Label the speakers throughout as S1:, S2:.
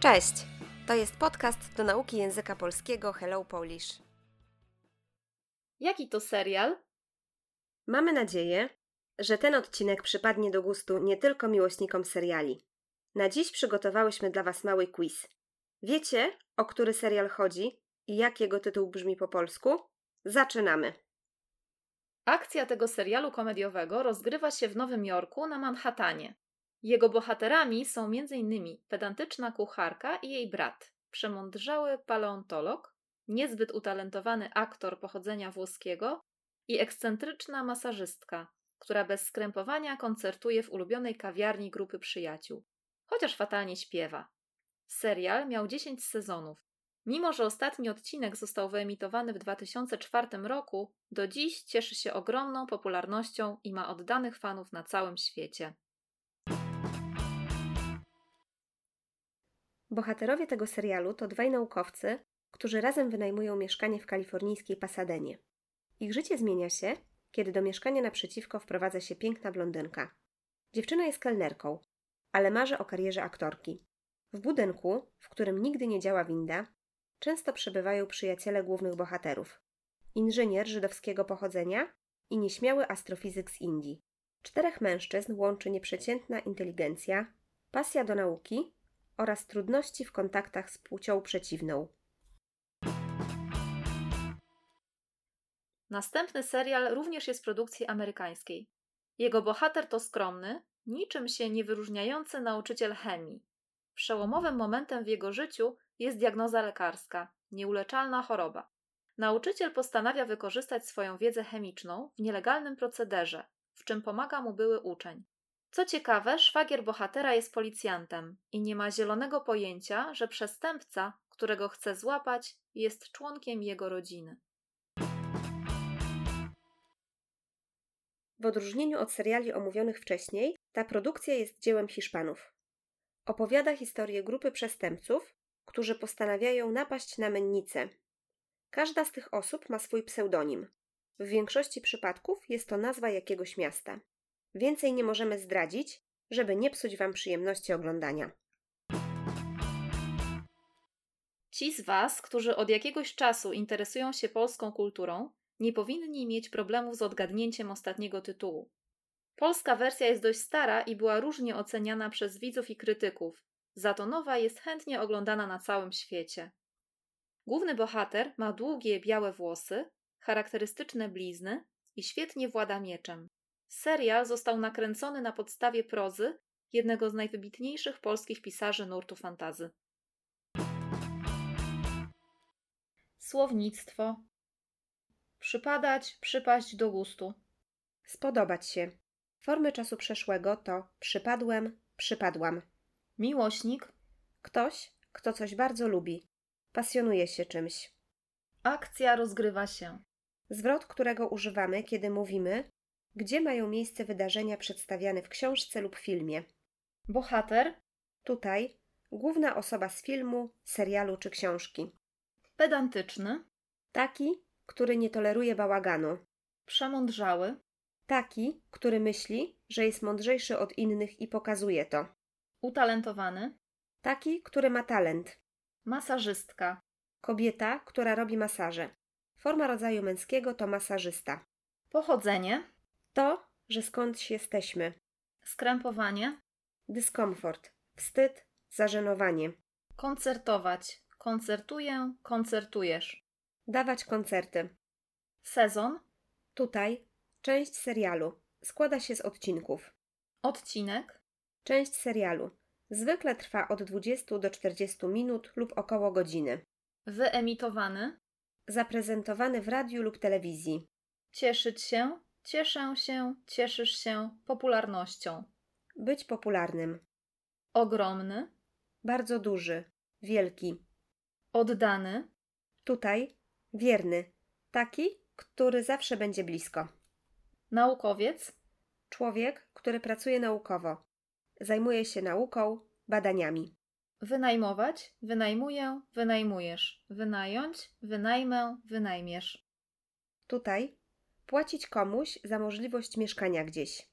S1: Cześć! To jest podcast do nauki języka polskiego Hello Polish.
S2: Jaki to serial?
S1: Mamy nadzieję, że ten odcinek przypadnie do gustu nie tylko miłośnikom seriali. Na dziś przygotowałyśmy dla Was mały quiz. Wiecie, o który serial chodzi i jak jego tytuł brzmi po polsku? Zaczynamy!
S2: Akcja tego serialu komediowego rozgrywa się w Nowym Jorku na Manhattanie. Jego bohaterami są m.in. pedantyczna kucharka i jej brat, przemądrzały paleontolog, niezbyt utalentowany aktor pochodzenia włoskiego i ekscentryczna masażystka, która bez skrępowania koncertuje w ulubionej kawiarni grupy przyjaciół, chociaż fatalnie śpiewa. Serial miał 10 sezonów. Mimo, że ostatni odcinek został wyemitowany w 2004 roku, do dziś cieszy się ogromną popularnością i ma oddanych fanów na całym świecie.
S1: Bohaterowie tego serialu to dwaj naukowcy, którzy razem wynajmują mieszkanie w kalifornijskiej Pasadenie. Ich życie zmienia się, kiedy do mieszkania naprzeciwko wprowadza się piękna blondynka. Dziewczyna jest kelnerką, ale marzy o karierze aktorki. W budynku, w którym nigdy nie działa winda, często przebywają przyjaciele głównych bohaterów. Inżynier żydowskiego pochodzenia i nieśmiały astrofizyk z Indii. Czterech mężczyzn łączy nieprzeciętna inteligencja, pasja do nauki oraz trudności w kontaktach z płcią przeciwną.
S2: Następny serial również jest produkcji amerykańskiej. Jego bohater to skromny, niczym się nie wyróżniający nauczyciel chemii. Przełomowym momentem w jego życiu jest diagnoza lekarska nieuleczalna choroba. Nauczyciel postanawia wykorzystać swoją wiedzę chemiczną w nielegalnym procederze, w czym pomaga mu były uczeń. Co ciekawe, szwagier bohatera jest policjantem i nie ma zielonego pojęcia, że przestępca, którego chce złapać, jest członkiem jego rodziny.
S1: W odróżnieniu od seriali omówionych wcześniej, ta produkcja jest dziełem Hiszpanów. Opowiada historię grupy przestępców, którzy postanawiają napaść na mennicę. Każda z tych osób ma swój pseudonim. W większości przypadków jest to nazwa jakiegoś miasta. Więcej nie możemy zdradzić, żeby nie psuć Wam przyjemności oglądania.
S2: Ci z Was, którzy od jakiegoś czasu interesują się polską kulturą, nie powinni mieć problemów z odgadnięciem ostatniego tytułu. Polska wersja jest dość stara i była różnie oceniana przez widzów i krytyków, za to nowa jest chętnie oglądana na całym świecie. Główny bohater ma długie białe włosy, charakterystyczne blizny i świetnie włada mieczem. Serial został nakręcony na podstawie prozy jednego z najwybitniejszych polskich pisarzy nurtu fantazy. Słownictwo Przypadać, przypaść do gustu.
S1: Spodobać się. Formy czasu przeszłego to przypadłem, przypadłam.
S2: Miłośnik
S1: Ktoś, kto coś bardzo lubi, pasjonuje się czymś.
S2: Akcja rozgrywa się.
S1: Zwrot, którego używamy, kiedy mówimy, gdzie mają miejsce wydarzenia przedstawiane w książce lub filmie.
S2: Bohater
S1: Tutaj główna osoba z filmu, serialu czy książki.
S2: pedantyczny,
S1: Taki, który nie toleruje bałaganu.
S2: przemądrzały,
S1: Taki, który myśli, że jest mądrzejszy od innych i pokazuje to.
S2: utalentowany,
S1: Taki, który ma talent.
S2: masażystka,
S1: Kobieta, która robi masaże. Forma rodzaju męskiego to masażysta.
S2: pochodzenie,
S1: To, że skądś jesteśmy.
S2: skrępowanie,
S1: Dyskomfort, wstyd, zażenowanie.
S2: koncertować, koncertuję, koncertujesz,
S1: Dawać koncerty.
S2: sezon,
S1: Tutaj część serialu składa się z odcinków.
S2: odcinek,
S1: Część serialu zwykle trwa od 20 do 40 minut lub około godziny.
S2: wyemitowany,
S1: Zaprezentowany w radiu lub telewizji.
S2: cieszyć się, cieszę się, cieszysz się popularnością,
S1: Być popularnym.
S2: ogromny,
S1: Bardzo duży. Wielki.
S2: oddany,
S1: Tutaj wierny. Taki, który zawsze będzie blisko.
S2: naukowiec,
S1: Człowiek, który pracuje naukowo. Zajmuje się nauką, badaniami.
S2: Wynajmować, wynajmuję, wynajmujesz. Wynająć, wynajmę, wynajmiesz.
S1: Tutaj płacić komuś za możliwość mieszkania gdzieś.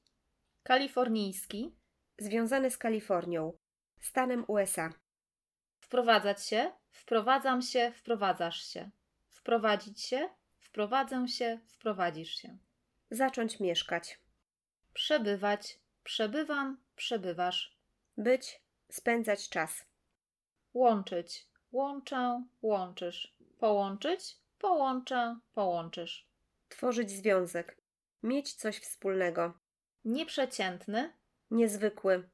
S2: Kalifornijski,
S1: Związany z Kalifornią, stanem USA.
S2: Wprowadzać się, wprowadzam się, wprowadzasz się. Wprowadzić się, wprowadzę się, wprowadzisz się.
S1: Zacząć mieszkać.
S2: Przebywać, przebywam, przebywasz.
S1: Być. Spędzać czas.
S2: Łączyć, łączę, łączysz. Połączyć, połączę, połączysz.
S1: Tworzyć związek. Mieć coś wspólnego.
S2: Nieprzeciętny,
S1: Niezwykły.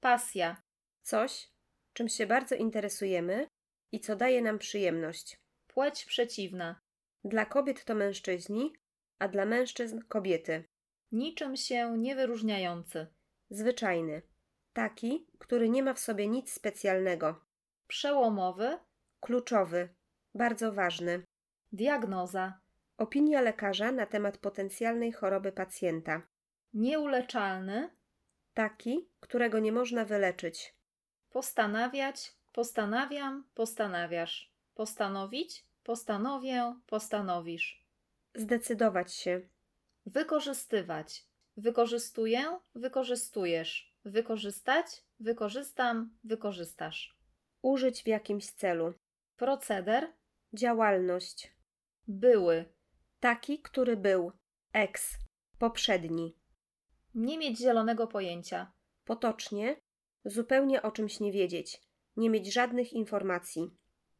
S2: pasja,
S1: Coś, czym się bardzo interesujemy i co daje nam przyjemność.
S2: płeć przeciwna.
S1: Dla kobiet to mężczyźni, a dla mężczyzn kobiety.
S2: Niczym się nie wyróżniający.
S1: Zwyczajny. Taki, który nie ma w sobie nic specjalnego.
S2: Przełomowy,
S1: Kluczowy. Bardzo ważny.
S2: diagnoza.
S1: Opinia lekarza na temat potencjalnej choroby pacjenta.
S2: Nieuleczalny,
S1: Taki, którego nie można wyleczyć.
S2: Postanawiać, postanawiam, postanawiasz. Postanowić, postanowię, postanowisz.
S1: Zdecydować się.
S2: Wykorzystywać. Wykorzystuję, wykorzystujesz. Wykorzystać, wykorzystam, wykorzystasz.
S1: Użyć w jakimś celu.
S2: Proceder
S1: Działalność.
S2: były.
S1: Taki, który był. Ex. Poprzedni.
S2: Nie mieć zielonego pojęcia.
S1: Potocznie. Zupełnie o czymś nie wiedzieć. Nie mieć żadnych informacji.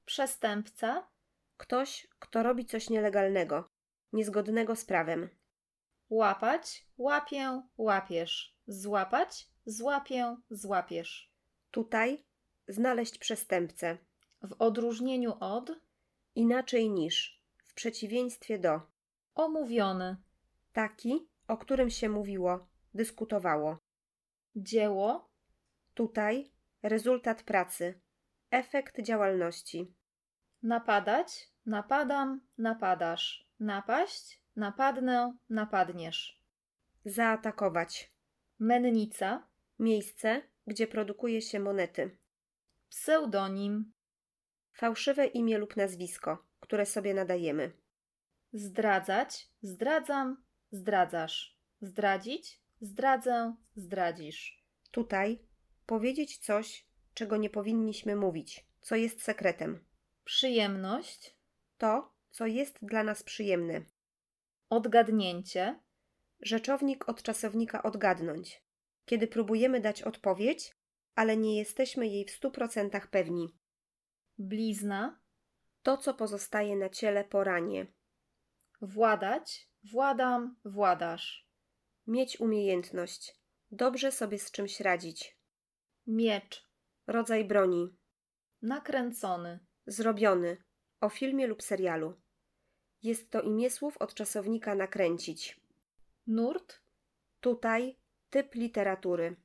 S2: Przestępca,
S1: Ktoś, kto robi coś nielegalnego, niezgodnego z prawem.
S2: łapać, łapię, łapiesz. Złapać, złapię, złapiesz.
S1: Tutaj znaleźć przestępcę.
S2: W odróżnieniu od
S1: Inaczej niż. W przeciwieństwie do.
S2: omówiony.
S1: Taki, o którym się mówiło, dyskutowało.
S2: Dzieło,
S1: Tutaj rezultat pracy. Efekt działalności.
S2: Napadać, napadam, napadasz. Napaść, napadnę, napadniesz.
S1: Zaatakować.
S2: Mennica,
S1: Miejsce, gdzie produkuje się monety.
S2: pseudonim,
S1: Fałszywe imię lub nazwisko, które sobie nadajemy.
S2: zdradzać, zdradzam, zdradzasz. Zdradzić, zdradzę, zdradzisz.
S1: Tutaj powiedzieć coś, czego nie powinniśmy mówić, co jest sekretem.
S2: Przyjemność,
S1: To, co jest dla nas przyjemne.
S2: odgadnięcie,
S1: Rzeczownik od czasownika odgadnąć. Kiedy próbujemy dać odpowiedź, ale nie jesteśmy jej w 100% pewni.
S2: blizna,
S1: To, co pozostaje na ciele po ranie.
S2: władać, władam, władasz.
S1: Mieć umiejętność. Dobrze sobie z czymś radzić.
S2: Miecz,
S1: Rodzaj broni.
S2: nakręcony,
S1: Zrobiony. O filmie lub serialu. Jest to imię słów od czasownika nakręcić.
S2: nurt,
S1: Tutaj typ literatury.